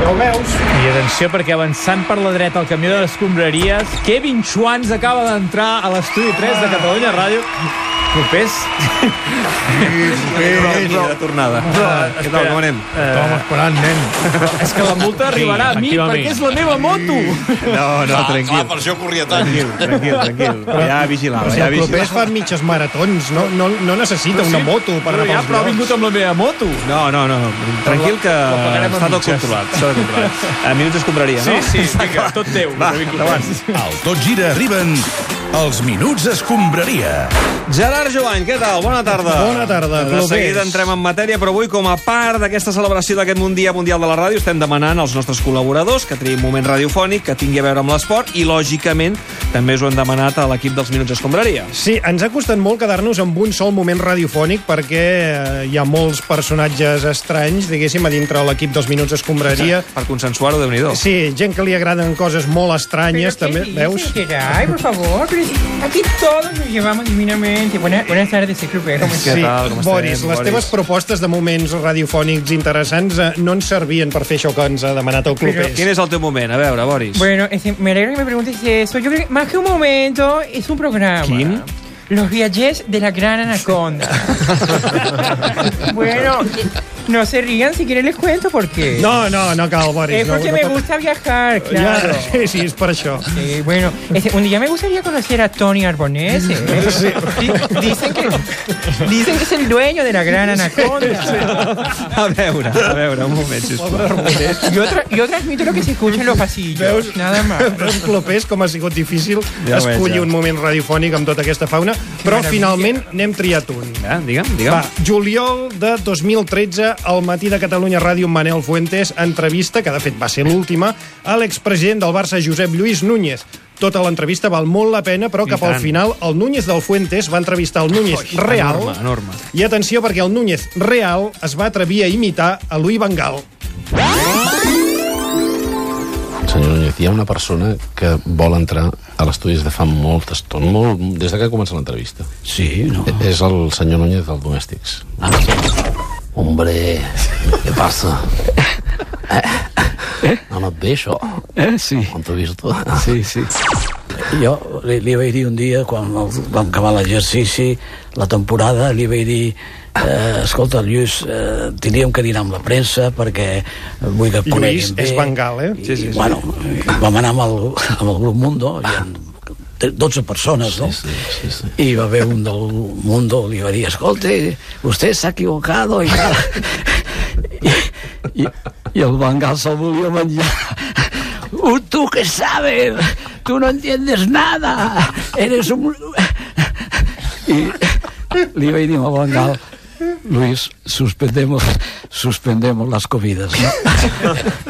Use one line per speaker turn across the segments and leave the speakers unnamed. Ptolomeus.
I atenció, perquè avançant per la dreta al camió de les escombraries, Kevin Schwantz acaba d'entrar a l'estudi 3 de Catalunya Ràdio. Propers.
Línia de tornada. Què tal, com anem?
Estàvem esperant, nen.
eh, És que la multa arribarà a mi,
efectivament.
perquè és la meva moto.
No, no,
Clar,
tranquil.
per això corria tant.
Tranquil, tranquil, tranquil. Ja vigilava, ja
Els propers
vigilava.
fan mitges maratons, no, no, no necessita una moto per
Però
anar
ja,
pels
però ha vingut amb
llocs.
la meva moto.
No, no, no, tranquil que
La pagarem
està
en
tot
mitges.
controlat. Està tot controlat. A minuts es compraria, no?
Sí, sí, vinga, tot teu.
Va,
David Corbera.
endavant.
Al Tot Gira arriben els Minuts Escombraria.
Gerard Jovany, què tal? Bona tarda.
Bona tarda,
De
Clopés.
seguida entrem en matèria, però avui, com a part d'aquesta celebració d'aquest Mundial Mundial de la Ràdio, estem demanant als nostres col·laboradors que triïn un moment radiofònic, que tingui a veure amb l'esport, i, lògicament, també us ho hem demanat a l'equip dels Minuts Escombraria.
Sí, ens ha costat molt quedar-nos amb un sol moment radiofònic perquè eh, hi ha molts personatges estranys, diguéssim, a dintre l'equip dels Minuts Escombraria.
Per consensuar-ho, déu nhi
Sí, gent que li agraden coses molt estranyes,
¿Pero qué
també,
dices,
veus?
Geray? por favor, pero es- aquí todos nos llevamos divinamente. Buena- buenas tardes, Ciclo Pérez.
Què tal? Com estem,
Boris, les
Boris?
teves propostes de moments radiofònics interessants eh, no ens servien per fer això que ens ha demanat el club.
Quin és el teu moment? A veure, Boris.
Bueno, este, me alegro que me preguntes eso. Yo creo que más que un momento, es un programa.
¿Quién?
Los viajes de la gran anaconda. bueno, no se rían, si quieren les cuento por qué.
No, no, no cal, Boris.
es porque
no, no
Eh, me
toca-
gusta viajar, claro.
Ja, sí, sí, és per això.
Eh, bueno, este, un día me gustaría conocer a Tony Arbonese. ¿eh? Di- Dicen, que, dicen que es el dueño de la gran anaconda.
A veure, a veure, un moment, sisplau.
Yo, tra- yo transmito lo que se escucha en los pasillos.
Veus?
Nada más.
Però en Clopés, com ha sigut difícil
Ja
ja
ho veig,
escollir
ja.
un moment radiofònic amb tota aquesta fauna, però
meravella.
finalment n'hem triat un.
Ja, digue'm,
Va,
digue'm.
juliol de 2013, al matí de Catalunya Ràdio, Manel Fuentes, entrevista, que de fet va ser l'última, a l'expresident del Barça, Josep Lluís Núñez. Tota l'entrevista val molt la pena, però cap al
tant.
final el Núñez del Fuentes va entrevistar el Núñez real.
enorme, enorme.
I atenció, perquè el Núñez real es va atrevir a imitar a Louis Van Gaal.
Senyor Núñez, hi ha una persona que vol entrar a l'estudi des de fa molta estona, molt, des de que comença l'entrevista.
Sí, no. Ah,
E- És el senyor Núñez del Domèstics. Hombre, què passa? Eh? Ha anat bé, això?
Eh, sí,
Quan t'ho he vist?
sí, sí. Jo li, li vaig dir un dia, quan el, vam acabar l'exercici, la temporada, li vaig dir eh, escolta, Lluís, eh, tindríem que dinar amb la premsa perquè vull que et
Lluís
coneguin bé.
és Van Gaal, eh?
Sí, sí, sí. Bueno, vam anar amb el, amb el grup Mundo, hi ha 12 persones, no?
Sí, sí, sí.
Y va a haber un del mundo, le iba a decir, escolte, usted se ha equivocado y tal. Y, y, y el vangal se volvió menjar. "Uh, Tú que sabes, tú no entiendes nada, eres un... Y le iba a decir al vangal, Luis, suspendemos, suspendemos las comidas.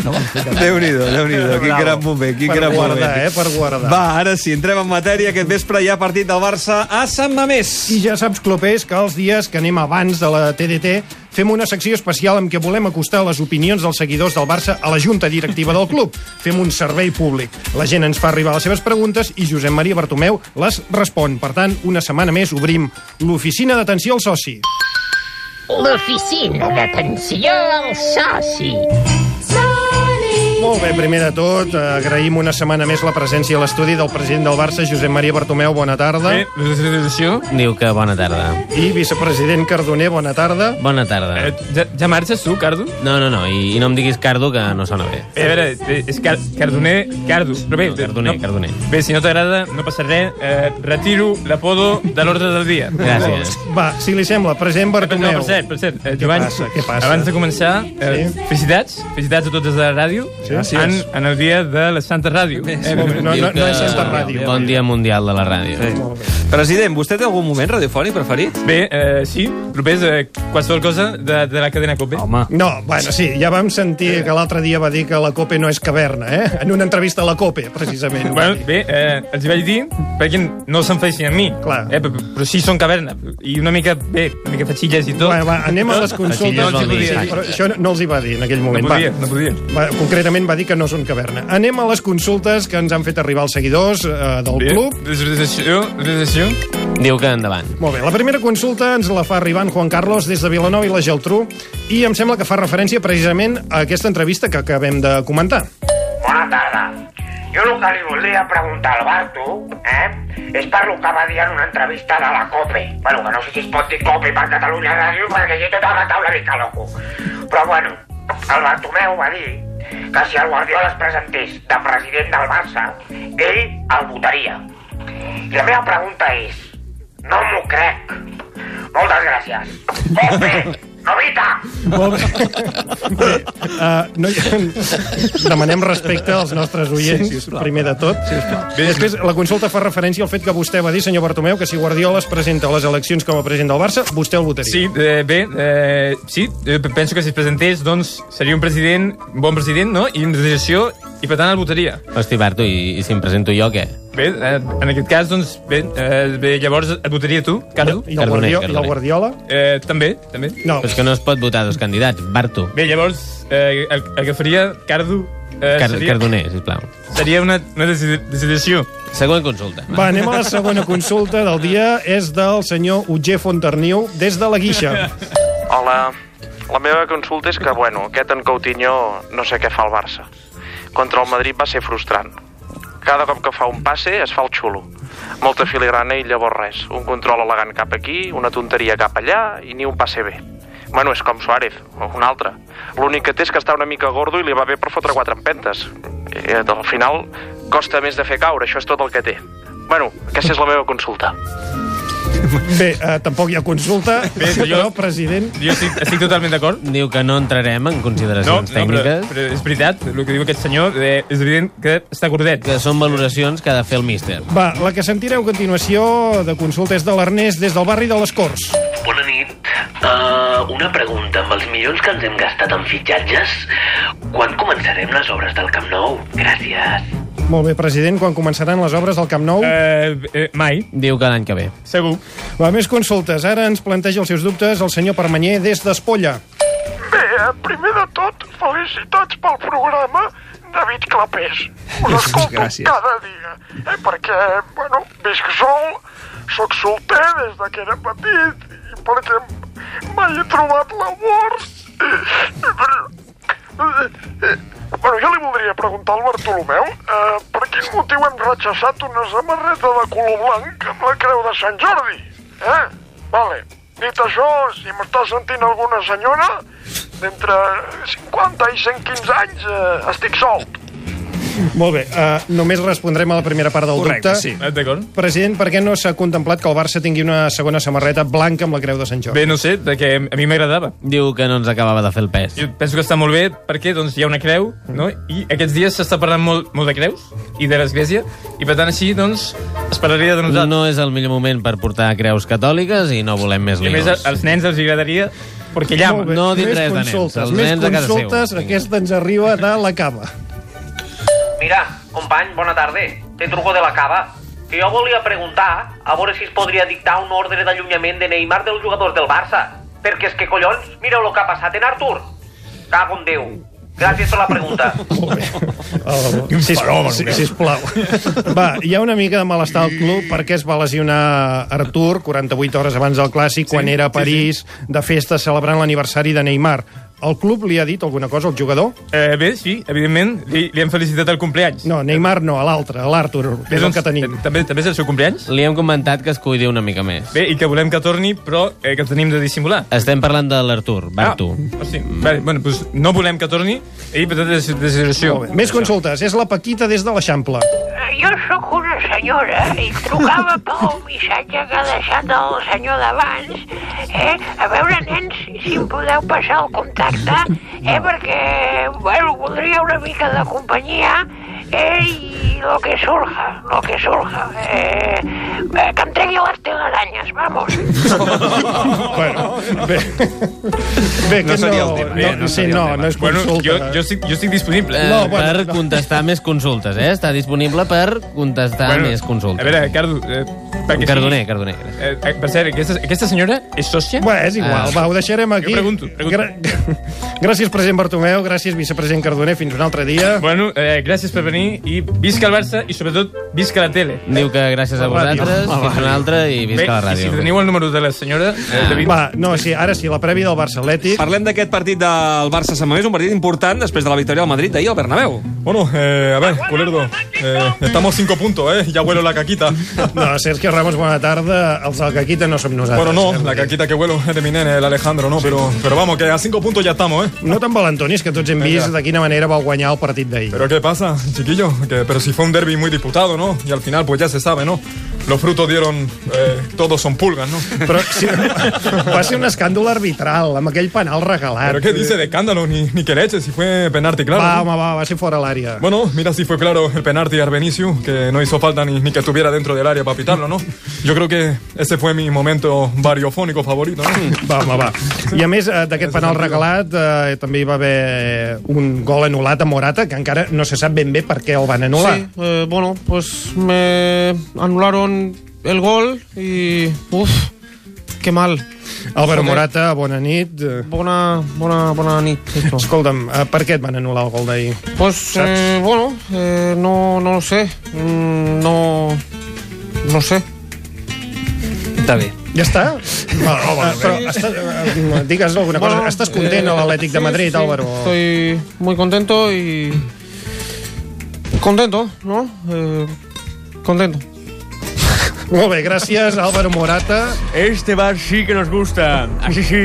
¿no? No,
Déu-n'hi-do, Déu-n'hi-do, quin gran moment, quin
Per
gran
guardar,
moment.
eh? Per guardar.
Va, ara sí, entrem en matèria. Aquest vespre hi ha partit del Barça a Sant Mamés.
I ja saps, Clopés, que els dies que anem abans de la TDT fem una secció especial amb què volem acostar les opinions dels seguidors del Barça a la junta directiva del club. Fem un servei públic. La gent ens fa arribar les seves preguntes i Josep Maria Bartomeu les respon. Per tant, una setmana més obrim l'oficina d'atenció al soci.
L'oficina d'atenció al soci.
Molt bé, primer de tot, eh, agraïm una setmana més la presència a l'estudi del president del Barça, Josep Maria Bartomeu, bona tarda.
Eh, presentació?
Diu que bona tarda.
I vicepresident Cardoner, bona tarda.
Bona tarda.
Eh, ja, ja marxes tu, Cardo?
No, no, no, i, i no em diguis Cardo, que no sona bé.
Bé, a veure, eh, és car Cardoner, Cardo. Però bé,
No, Cardoner, Cardoner.
Bé, si no t'agrada, no passa res. Eh, retiro l'apodo de l'ordre del dia.
Gràcies.
Va, si li sembla, president
No,
Bartomeu.
per cert, per cert, eh, Joan,
passa, què passa?
abans de començar, eh,
Sí.
felicitats, felicitats a tots des de la ràdio
Gràcies.
en, en el dia de la Santa Ràdio. Eh,
No, no, no és Santa Ràdio.
Bon dia mundial de la ràdio. Sí.
President, vostè té algun moment radiofònic preferit?
Bé, eh, sí, propers eh, qualsevol cosa de, de la cadena COPE.
Home,
No, bueno, sí, ja vam sentir que l'altre dia va dir que la COPE no és caverna, eh? En una entrevista a la COPE, precisament.
Bueno, bé, eh, els hi vaig dir perquè no se'n facin a mi.
Clar.
Eh, però, però sí són caverna. I una mica, bé, una mica fatxilles i tot.
Bueno, va, anem a
Aquí
les
ja
consultes.
es vol dir.
Però això no els hi va dir en aquell
no
moment.
podia,
va.
no podia.
Va, concretament va dir que no són caverna. Anem a les consultes que ens han fet arribar els seguidors eh, del
Bé,
club.
des- des- des- jo- des- des-
votació?
Diu que endavant.
Molt bé, la primera consulta ens la fa arribar en Juan Carlos des de Vilanova i la Geltrú i em sembla que fa referència precisament a aquesta entrevista que acabem de comentar.
Bona tarda. Jo el que li volia preguntar al Barto, eh, és per lo que va dir en una entrevista de la COPE. Bueno, que no sé si es pot dir COPE per Catalunya Ràdio, perquè jo he tota la taula mica loco. Però bueno, el Bartomeu va dir que si el Guardiola es presentés de president del Barça, ell el votaria. I la meva pregunta és, no m'ho crec. Moltes gràcies. COPE! Novita!
Uh, no hi... Demanem respecte als nostres oients, sí, primer de tot. Sí, Bé, Després, la consulta fa referència al fet que vostè va dir, senyor Bartomeu, que si Guardiola es presenta a les eleccions com a president del Barça, vostè el votaria.
Sí, eh, bé, eh, sí, eh, penso que si es presentés, doncs, seria un president, un bon president, no?, i una decisió, i per tant el votaria.
Hosti, Barto, i, i si em presento jo, què?
Bé, eh, en aquest cas, doncs, bé, eh, bé llavors et votaria tu, Cardo?
I el, Guardiola, I el Guardiola?
Eh, també, també.
No,
Però és que no es pot votar dos candidats, Barto.
Bé, llavors, eh, el, el que faria Cardo... Eh,
Car
seria,
Cardoner, sisplau.
seria una, una deci- decisió.
Següent consulta.
Va, anem a la segona consulta del dia. És del senyor Utger Fonterniu, des de la Guixa.
Hola, la meva consulta és que, bueno, aquest en Coutinho no sé què fa al Barça. Contra el Madrid va ser frustrant. Cada cop que fa un passe es fa el xulo. Molta filigrana i llavors res. Un control elegant cap aquí, una tonteria cap allà i ni un passe bé. Bueno, és com Suárez, o un altre. L'únic que té és que està una mica gordo i li va bé per fotre quatre empentes. I, al final costa més de fer caure, això és tot el que té. Bueno, aquesta és la meva consulta.
Bé, eh, tampoc hi ha consulta, Bé, però, president...
Jo estic, estic totalment d'acord.
Diu que no entrarem en consideracions
però,
tècniques,
però és veritat, el que diu aquest senyor, eh, és evident que està gordet.
que són valoracions que ha de fer el míster.
Va, la que sentireu a continuació de consulta és de l'Ernest des del barri de les Corts.
Bona nit. Uh, una pregunta. Amb els milions que ens hem gastat en fitxatges, quan començarem les obres del Camp Nou? Gràcies.
Molt bé, president, quan començaran les obres del Camp Nou?
Eh, eh, mai.
Diu que l'any que ve.
Segur.
Va, més consultes. Ara ens planteja els seus dubtes el senyor Permanyer des d'Espolla.
Bé, eh, primer de tot, felicitats pel programa David Clapés. Us escolto
Gràcies.
cada dia, eh, perquè, bueno, visc sol, sóc solter des de que era petit, i perquè mai he trobat l'amor. I per- eh, eh, Bueno, jo li voldria preguntar al Bartolomeu eh, per quin motiu hem rechaçat una samarreta de color blanc amb la creu de Sant Jordi, eh? Vale. Dit això, si m'està sentint alguna senyora, d'entre 50 i 115 anys eh, estic solt.
Molt bé, uh, només respondrem a la primera part del
Correcte,
dubte.
sí. Eh, D'acord.
President, per què no s'ha contemplat que el Barça tingui una segona samarreta blanca amb la creu de Sant Jordi?
Bé, no sé, de que a mi m'agradava.
Diu que no ens acabava de fer el pes.
Jo penso que està molt bé perquè doncs, hi ha una creu, no? i aquests dies s'està parlant molt, molt de creus i de l'església, i per tant així doncs, esperaria de nosaltres.
No és el millor moment per portar creus catòliques i no volem més
I a més,
líos.
als nens els agradaria perquè
Molt
llama.
bé,
No dic
més
res de nens,
consultes,
els
més
nens a casa seu.
consultes, aquesta ens arriba de la cava.
Mira, company, bona tarda. Te truco de la cava. Que jo volia preguntar a veure si es podria dictar un ordre d'allunyament de Neymar dels jugadors del Barça. Perquè és que, collons, mireu el que ha passat en Artur. Cago en Déu. Gràcies per la pregunta.
Oh, sisplau, si- sisplau. Va, hi ha una mica de malestar al club perquè es va lesionar Artur 48 hores abans del Clàssic, sí, quan era a París, sí, sí. de festa celebrant l'aniversari de Neymar. El club li ha dit alguna cosa al jugador?
Eh, bé, sí, evidentment, li, li hem felicitat el Eh, doncs, cumpleanys.
No, Neymar no, a l'altre, a l'Artur, que és el que tenim.
També, també és el seu cumpleanys?
Li hem comentat que es cuidi una mica més.
Bé, i que volem que torni, però eh, que tenim de dissimular.
Estem parlant de l'Artur, Bartu.
Ah, sí. Vale, bueno, doncs no volem que torni i per tant és decisió.
Més consultes, és la Paquita des de l'Eixample.
Jo sóc una senyora eh? i trucava pel missatge que ha deixat el senyor d'abans. Eh? A veure, nens, si em podeu passar el contacte, eh? perquè, bueno, voldria una mica de companyia eh? i lo que surja, lo que surja. Eh? eh, Que em tregui les telarañas, vamos.
Bueno, Bé, bé
No
que
seria el
no,
tema,
no,
eh? No
sí,
seria el
no,
tema.
no és
Bueno,
consulta.
jo-
Jo estic, jo estic disponible.
Eh, per contestar més consultes, eh? Està disponible per contestar
Bueno,
més consultes.
A veure, Cardo... Eh, perquè
Cardoner,
sigui-
Cardoner.
Eh, eh, per cert, aquesta, aquesta senyora és sòcia?
Bé, és
Ah.
Ah.
igual, va, ho deixarem aquí.
Jo pregunto, pregunto.
Gra- gràcies, president Bartomeu, gràcies, vicepresident Cardoner, fins un altre dia.
Bueno, eh, gràcies per venir i visca el Barça i sobretot visca la tele.
Diu que gràcies a
La ràdio.
vosaltres,
La
fins
ràdio.
una altra i visca
Bé,
la
I
ràdio. Ah.
si teniu el número de la senyora, eh, David...
Va, no, sí, ara sí, la prèvia del Barça Atlètic.
Parlem d'aquest partit del Barça Sant Mamés, un partit important després de la victòria del Madrid d'ahir al Bernabéu.
Bueno, eh, a ver, Culerdo, eh, estamos cinco puntos, ¿eh? Ya huelo la caquita.
No, Sergio Ramos, bona tarda. Els del Caquita no som nosaltres.
Bueno, no,
eh?
la caquita que huelo es de mi nene, el Alejandro, ¿no? Pero, pero vamos, que a cinco puntos ya estamos, ¿eh?
No tan mal, Antoni, és que tots hem vist de quina manera vau guanyar el partit d'ahir.
Pero ¿qué pasa, chiquillo? Que, pero si fue un derby muy disputado, ¿no? Y al final, pues ya se sabe, ¿no? Los frutos dieron, eh, todos son pulgas, ¿no?
Però si, va ser un escàndol arbitral, amb aquell penal regalat.
¿Pero qué dice de escándalo? Ni, ni que leche, si fue penalti, claro.
Va,
¿no?
home, va, va ser fora l'àrea.
Bueno, mira si fue claro el penalti a Beniciu, que no hizo falta ni, ni que estuviera dentro del área para pitarlo, ¿no? Yo creo que ese fue mi momento variofónico favorito, ¿no?
Va, va, va. I a més eh, d'aquest penal regalat eh, també hi va haver un gol anul·lat a Morata, que encara no se sap ben bé per què el van anul·lar.
Sí, eh, bueno, pues me anularon el gol y... Uf, qué mal.
Albert
Joder.
Morata, bona nit.
Bona, bona, bona nit.
Escolta'm, eh, per què et van anul·lar el gol d'ahir?
Pues eh, bueno, eh, no, no lo sé. Mm, no, no sé.
Està bé.
Ja està? Va, home, però està, eh, digues alguna cosa.
Bueno,
Estàs content
eh,
a l'Atlètic de
sí,
Madrid,
sí,
Álvaro?
Estoy muy contento y... Contento, ¿no? Eh, contento.
Molt bé, gràcies, Álvaro Morata.
Este bar sí que nos gusta. Así sí,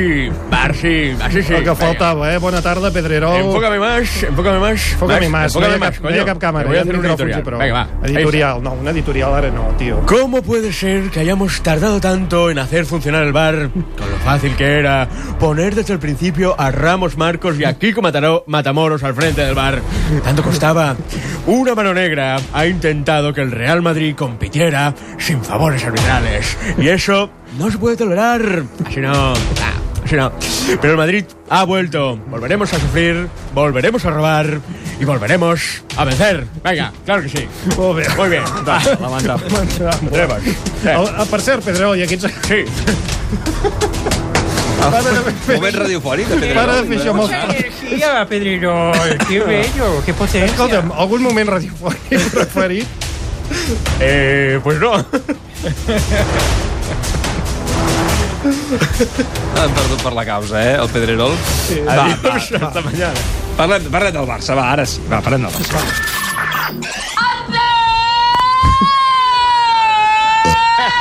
bar sí, así sí.
El que faltava, eh? Bona tarda, Pedrerol.
Enfócame más, enfócame más.
Enfócame más.
enfócame
no hi ha
más,
cap, no hi ha
coño.
cap càmera,
Voy
hi
a
ha
hacer un
micròfons i
editorial.
prou.
Venga, va. Ahí está.
Editorial, no, un editorial ara no, tio.
¿Cómo puede ser que hayamos tardado tanto en hacer funcionar el bar con lo fácil que era poner desde el principio a Ramos Marcos y a Kiko Mataró- Matamoros al frente del bar? Tanto costaba. Una mano negra ha intentado que el Real Madrid compitiera sin favores arbitrales. Y eso no se puede tolerar. Así no. Ah, así no. Pero el Madrid ha vuelto. Volveremos a sufrir, volveremos a robar y volveremos a vencer. Venga, claro que sí.
Muy bien.
Muy bien. Va, aguanta. Atrevas.
El, el, per cert, Pedrerol, i aquests...
Eh. Sí.
Ah.
Para de fer-
Moment radiofònic de Pedrerol.
Para de fer això amb els...
energía, Pedrerol. Qué bello, qué potencia.
Escolta'm, algun moment radiofònic preferit?
Eh, pues no.
Han perdut per la causa, eh, el Pedrerol. Sí. Va, va, va.
Hasta mañana.
Parlem, parlem del Barça, va, ara sí. Va, parlem del Barça. Va.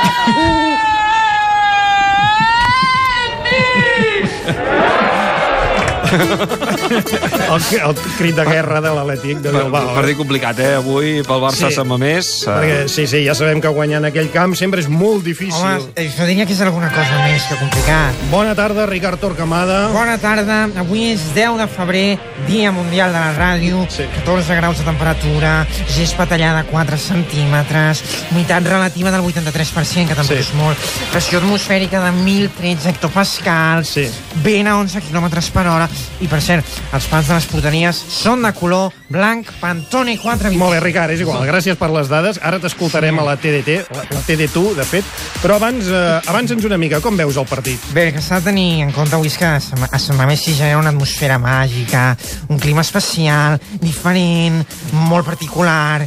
El, el crit de guerra de l'Atlètic de
Per,
Bilbao.
partit complicat, eh, avui pel Barça
Sí.
sí. Sant Mamés. eh.
Perquè, sí, sí, ja sabem que guanyar en aquell camp sempre és molt difícil.
Home, això tenia que ser alguna cosa més que complicat.
Bona tarda, Ricard Torquemada.
Bona tarda. Avui és 10 de febrer, Dia Mundial de la Ràdio, sí. 14 graus de temperatura, gespa tallada 4 centímetres, humitat relativa del 83%, que tampoc sí. és molt, pressió atmosfèrica de 1.013 hectopascals, sí. vent a 11 km per hora, i per cert, els pans de les porteries són de color blanc, pantone 4...
Molt bé, Ricard, és igual. Gràcies per les dades. Ara t'escoltarem a la TDT, la, la TD2, de fet. Però abans, eh, avança'ns una mica. Com veus el partit?
Bé, el que s'ha de tenir en compte avui és que a Sant- a Sant Mamés s'hi genera una atmosfera màgica, un clima especial, diferent, molt particular,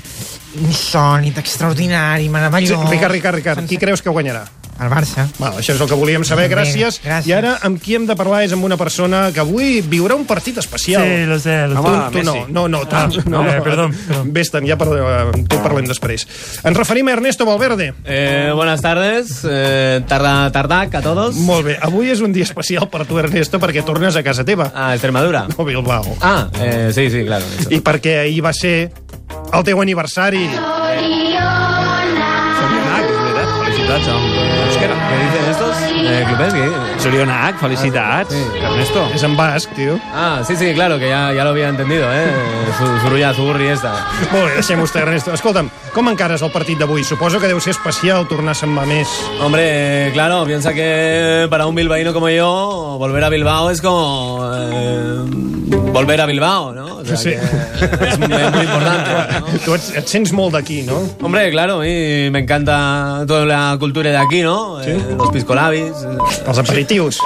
insònit, extraordinari, meravellós...
Sí, Ricard, Ricard, Ricard, qui creus que guanyarà?
El Barça.
Val, això és el que volíem saber,
Vinga,
gràcies.
gràcies.
I ara amb qui hem de parlar és amb una persona que avui viurà un partit especial.
Sí, lo sé, lo sé.
Home,
Ah,
tu, tu no,
Messi.
no, no, tu,
Ah,
no,
eh, perdó,
Vés-te'n, ja per, amb tu parlem després. Ens referim a Ernesto Valverde.
Eh, buenas tardes, eh, tarda, tardac a todos.
Molt bé, avui és un dia especial per tu, Ernesto, perquè tornes a casa teva.
A Extremadura.
No, Bilbao.
Ah, eh, sí, sí, claro. eso.
I perquè ahir va ser el teu aniversari.
Felicidades, home. Euskera. Què dicen estos? Eh, clubers, què dicen? Sorionac, felicitats. Ernesto.
És en basc, tio.
Ah, sí, sí, claro, que ya, ya lo había entendido, ¿eh? Su- Surulla, Zurri, esta.
Molt bé, deixem-ho estar, Ernesto. Escolta'm, com encares el partit d'avui? Suposo que deu ser especial tornar a Sant Mamés.
Hombre, eh, claro, piensa que para un bilbaíno como yo, volver a Bilbao es como eh, volver a Bilbao, ¿no? O sea,
Sí.
que es muy importante. ¿no?
Tu et, et sents molt d'aquí, no?
Hombre, claro, y me encanta toda la cultura de aquí, ¿no? Eh, los piscolabis. eh,
Los aperitivos.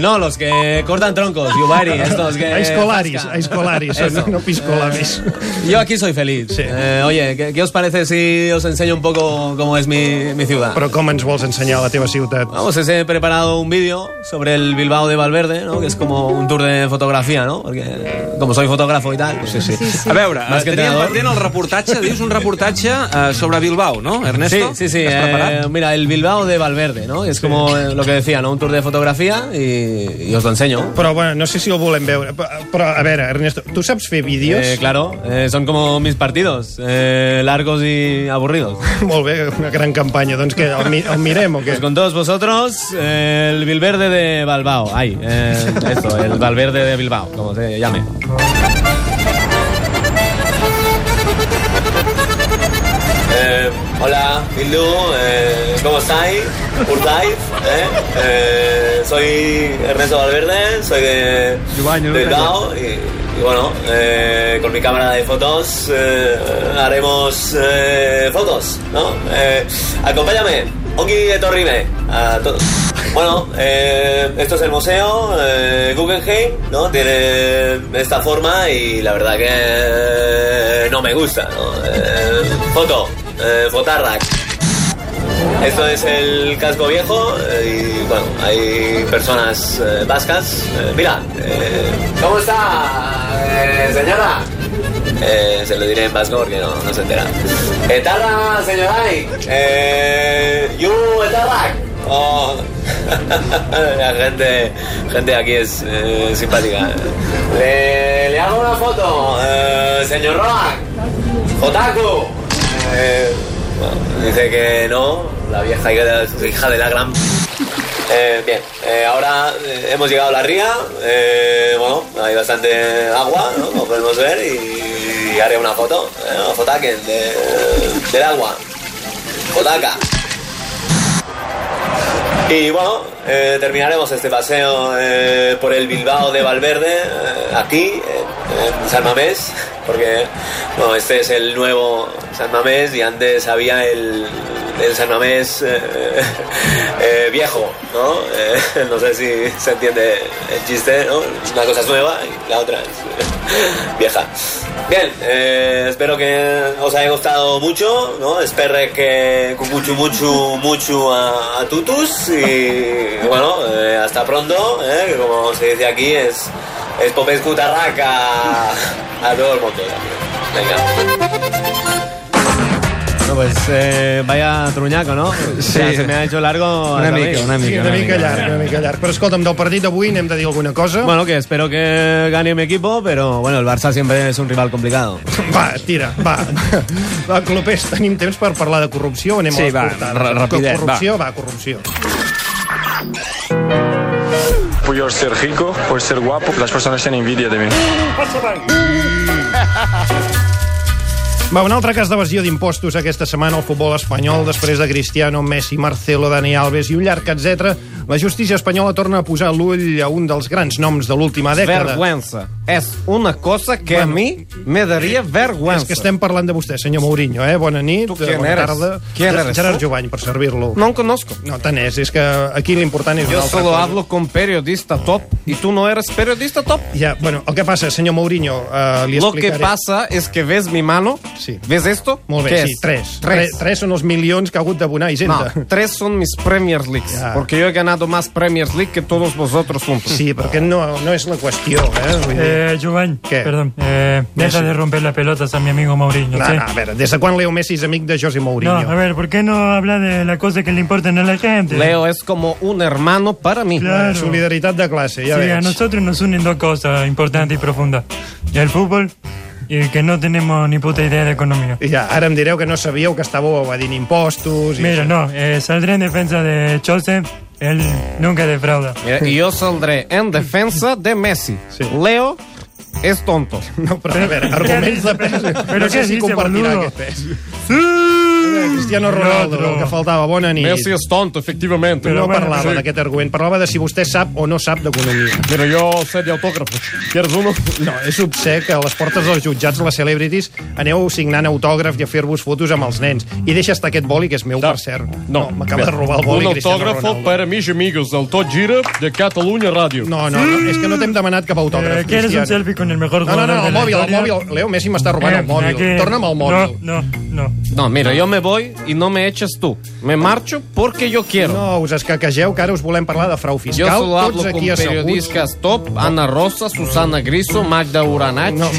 no, los que cortan troncos, yubari, estos que...
Aizcolaris, aizcolaris,
Eso.
eh, no, no piscolaris.
Yo aquí soy feliz. Eh, oye, ¿qué, qué os parece si os enseño un poco cómo es mi, mi ciudad?
Però com ens vols ensenyar la teva ciutat?
Vamos, os he preparado un vídeo sobre el Bilbao de Valverde, ¿no? que es como un tour de fotografía, ¿no? Porque eh, como soy fotógrafo y tal. Sí, sí.
A veure,
Más
eh,
que
teníem
entrenador.
pendent el reportatge, dius un reportatge eh, sobre Bilbao, no, Ernesto?
Sí, sí, sí.
Estàs
eh,
preparat?
mira, el Bilbao de Valverde, ¿no? Es como eh, lo que decía, ¿no? Un tour de fotografía y, y os lo enseño.
Però, bueno, no sé si el volem veure. Però, però a veure, Ernesto, tu saps fer vídeos?
Eh, claro, eh, son como mis partidos, eh, largos y aburridos.
Molt bé, una gran campanya. Doncs què, el, mi, el mirem o què?
Pues con todos vosotros, eh, el Bilverde de Bilbao. Ay, eh, esto, el Valverde de Bilbao, como se llame. Eh, hola, Bildu, eh, ¿cómo estáis? ¿Urtáis? Eh, eh, soy Ernesto Valverde, soy de, de Bilbao y, y bueno, eh, con mi cámara de fotos eh, haremos eh, fotos, ¿no? Eh, acompáñame, Ongi de Torrime, a todos. Bueno, eh, esto es el museo eh, Guggenheim, ¿no? Tiene esta forma y la verdad que eh, no me gusta, ¿no? Eh, foto, eh, fotarrack. Esto es el casco viejo eh, y bueno, hay personas eh, vascas. Eh, mira, eh, ¿cómo está, eh, señora? Eh, se lo diré en vasco porque no, no se entera. Etarra, señora, eh, you etarra. Oh, la gente, gente aquí es eh, simpática. Le, le hago una foto, eh, señor Roa. Otaku. Eh, bueno, dice que no, la vieja hija de la gran... Eh, bien, eh, ahora eh, hemos llegado a la ría, eh, bueno, hay bastante agua, ¿no? Como podemos ver, y, haré una foto, eh, una fotaken de- del agua. Fotaka. Y bueno, eh, terminaremos este paseo eh, por el Bilbao de Valverde, eh, aquí, eh, en San Mamés, porque bueno, este es el nuevo San Mamés y antes había el, el San Mamés eh, eh, viejo, ¿no? Eh, no sé si se entiende el chiste, ¿no? Una cosa es nueva y la otra es vieja. Bien, eh, espero que os haya gustado mucho, ¿no? Espero que mucho, mucho, mucho a, a tutus y bueno, eh, hasta pronto, ¿eh? Que como se dice aquí es, es popes cutarraca a todo el mundo. Venga. pues vaya truñaco, ¿no?
Sí. Ya se me
ha hecho largo.
Una mica, una mica, sí, una, mica llarg, una mica llarg. Però escolta'm, del partit d'avui n'hem de dir alguna cosa?
Bueno, que espero que gane mi equipo, pero bueno, el Barça siempre es un rival complicado.
Va, tira, va. Va, Clopés, tenim temps per parlar de corrupció o anem
Sí,
a les
va,
portades?
ra- rapidet,
corrupció, va. va, corrupció.
Puedo ser rico, puedo ser guapo, las personas tienen envidia de mí.
Va, un altre cas d'evasió d'impostos aquesta setmana al futbol espanyol. Després de Cristiano, Messi, Marcelo, Dani Alves i un llarg etc, la justícia espanyola torna a posar l'ull a un dels grans noms de l'última dècada.
Vergüenza. Es una cosa que a mí me daría vergüenza.
És que estem parlant de vostè, senyor Mourinho, eh? Bona nit, tu
quién
bona
eres?
tarda.
¿Quién
Ger-
eres
Gerard
tú?
Jovany, per servir-lo.
No conozco.
No tant és, és que aquí l'important és
Yo
una altra
solo
cosa.
hablo con periodista top y tú no eres periodista top.
Ja, bueno, el que passa, senyor Mourinho, eh, li
Lo que
explicaré...
pasa es que ves mi mano, ves esto,
Molt
¿qué
bé, sí,
es?
tres.
Tres.
Tre- tres són els milions que ha hagut d'abonar Hisenda.
No, tres son mis Premier Leagues, porque yo he ganado más Premier League que todos vosotros juntos.
Sí, porque no, no es la cuestión, ¿eh? Vull dir-
Eh, Giovanni,
¿Qué?
perdón, eh, deja
Messi.
de romper las pelotas a mi amigo Mauriño.
No,
¿sí?
no, a veure, des de quan Leo Messi és amic de José
No,
Mourinho?
a ver, ¿por qué no habla de la cosa que le importan a la gente?
Leo es como un hermano para mí.
Claro.
Solidaritat de classe, ja
sí, a
veig.
nosotros nos unen dos cosas importantes y profundas. El fútbol y que no tenemos ni puta idea de economía.
Ja, ara em direu que no sabíeu que estàveu evadint impostos... I
Mira,
això.
no, eh, saldré en defensa de Joseph, él nunca defrauda.
Mira, y yo saldré en defensa de Messi. Leo es tonto.
No, però a veure, arguments de pes.
Però
no sé
què
si
dice,
compartirà
boludo?
aquest pes. Sí! Cristiano Ronaldo, el que faltava. Bona nit.
Messi es tonto, efectivamente.
No parlava d'aquest argument, parlava de si vostè sap o no sap d'economia.
Mira, jo sé de autògrafos. Quieres uno?
No, és obscè que a les portes dels jutjats les celebrities aneu signant autògraf i a fer-vos fotos amb els nens. I deixa estar aquest boli, que és meu, per cert. No, m'acaba de robar el boli,
Un
Cristiano Ronaldo.
autógrafo para mis amigos del Tot Gira de Catalunya Radio.
No, no, no, és que no t'hem demanat cap autògraf.
Eh, ¿Quieres un selfie con el mejor
No, no,
jugador
no,
de
el
la
mòbil, el
historia?
mòbil. Leo Messi m'està robant
Eh,
el mòbil.
aquí.
Torna'm el mòbil.
No, no, no.
No, mira, yo me voy y no me eches tú. Me marcho porque yo quiero.
No, us escaquegeu, que ara us volem parlar de frau
Yo
fiscal.
solo
Tots
hablo con
aquí asseguts.
periodistas top, Ana Rosa, Susana Griso, Magda Uranach.
No,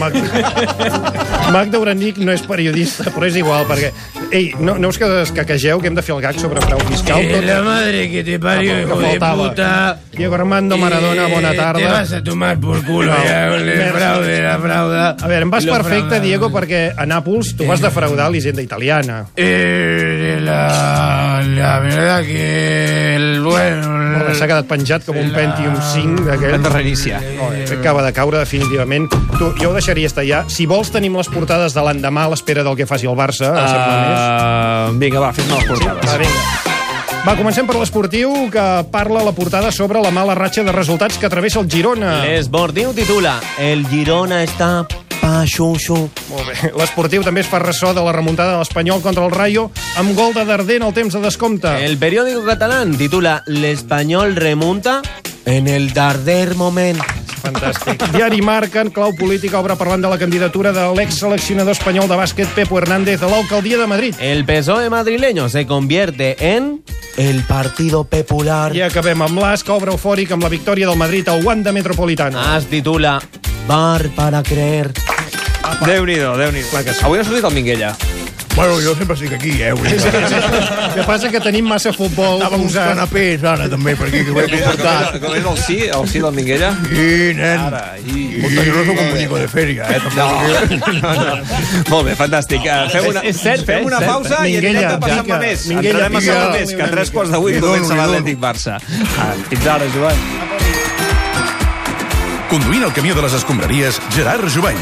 Magda Uranic no és periodista, però és igual, perquè... Ei, no, no us que escaquegeu que hem de fer el gag sobre frau fiscal?
Eh, la madre que te parió,
Que
hijo de
faltava.
puta. Eh,
Diego Armando Maradona, bona tarda.
Te vas a tomar por culo ya con el
Merci.
fraude, la frauda.
A veure, em vas
Lo Eh.
perfecte,
frauda.
Diego, perquè a Nàpols tu vas defraudar l'Hisenda italiana.
Eh, la, la verdad que el bueno...
S'ha quedat penjat com un Pentium 5 d'aquell. Hem de reiniciar. No, eh, acaba de caure definitivament. Tu, jo ho deixaria estar ja. Si vols, tenim les portades de l'endemà a l'espera del que faci el Barça.
Ah,
a
Ah.
Sacramento.
Uh, vinga, va, fes-me les portades.
Va, vinga. Va, comencem per l'esportiu, que parla la portada sobre la mala ratxa de resultats que travessa el Girona.
L'esportiu titula El Girona està pa xuxu.
Molt bé. L'esportiu també es fa ressò de la remuntada de l'Espanyol contra el Rayo, amb gol de Darder en el temps de descompte.
El periódico catalán titula L'Espanyol remunta en el darder moment.
Fantàstic. Diari Marca, en clau política, obre parlant de la candidatura de l'ex-seleccionador espanyol de bàsquet Pepo Hernández a l'alcaldia de Madrid.
El
E
PSOE madrileño se convierte en el Partido Popular.
I acabem amb l'AS, que obre eufòric amb la victòria del Madrid al Wanda Metropolitana.
AS titula Bar para creer.
Déu-n'hi-do, Déu-n'hi-do. Avui ha sortit el Minguella.
Bueno, jo sempre estic aquí, eh? Vull dir,
El que passa que tenim massa futbol.
Estava uns
posat.
canapés ara, també, per aquí, que ho he portat.
Com és el sí, el sí del Minguella?
Sí, nen. Montañoso com muñeco de feria, eh?
No. no, no. Molt bé, fantàstic. Eh, Fem una,
És- és cert,
fem
eh?
una
És cert.
pausa i en
Minguella,
directe passem
pica.
a més.
Minguella,
Entrarem a
pica.
sala més, que a tres quarts de vuit
Li dono,
comença
li dono.
l'Atlètic-Barça. Ah, Fins ara, Joan.
Conduint el camió de les escombraries, Gerard Jubany.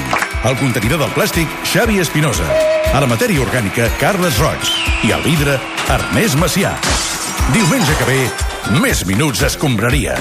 El contenidor del plàstic, Xavi Espinosa. A la matèria orgànica, Carles Roig. I al vidre, Ernest Macià. Diumenge que ve, més minuts escombraria.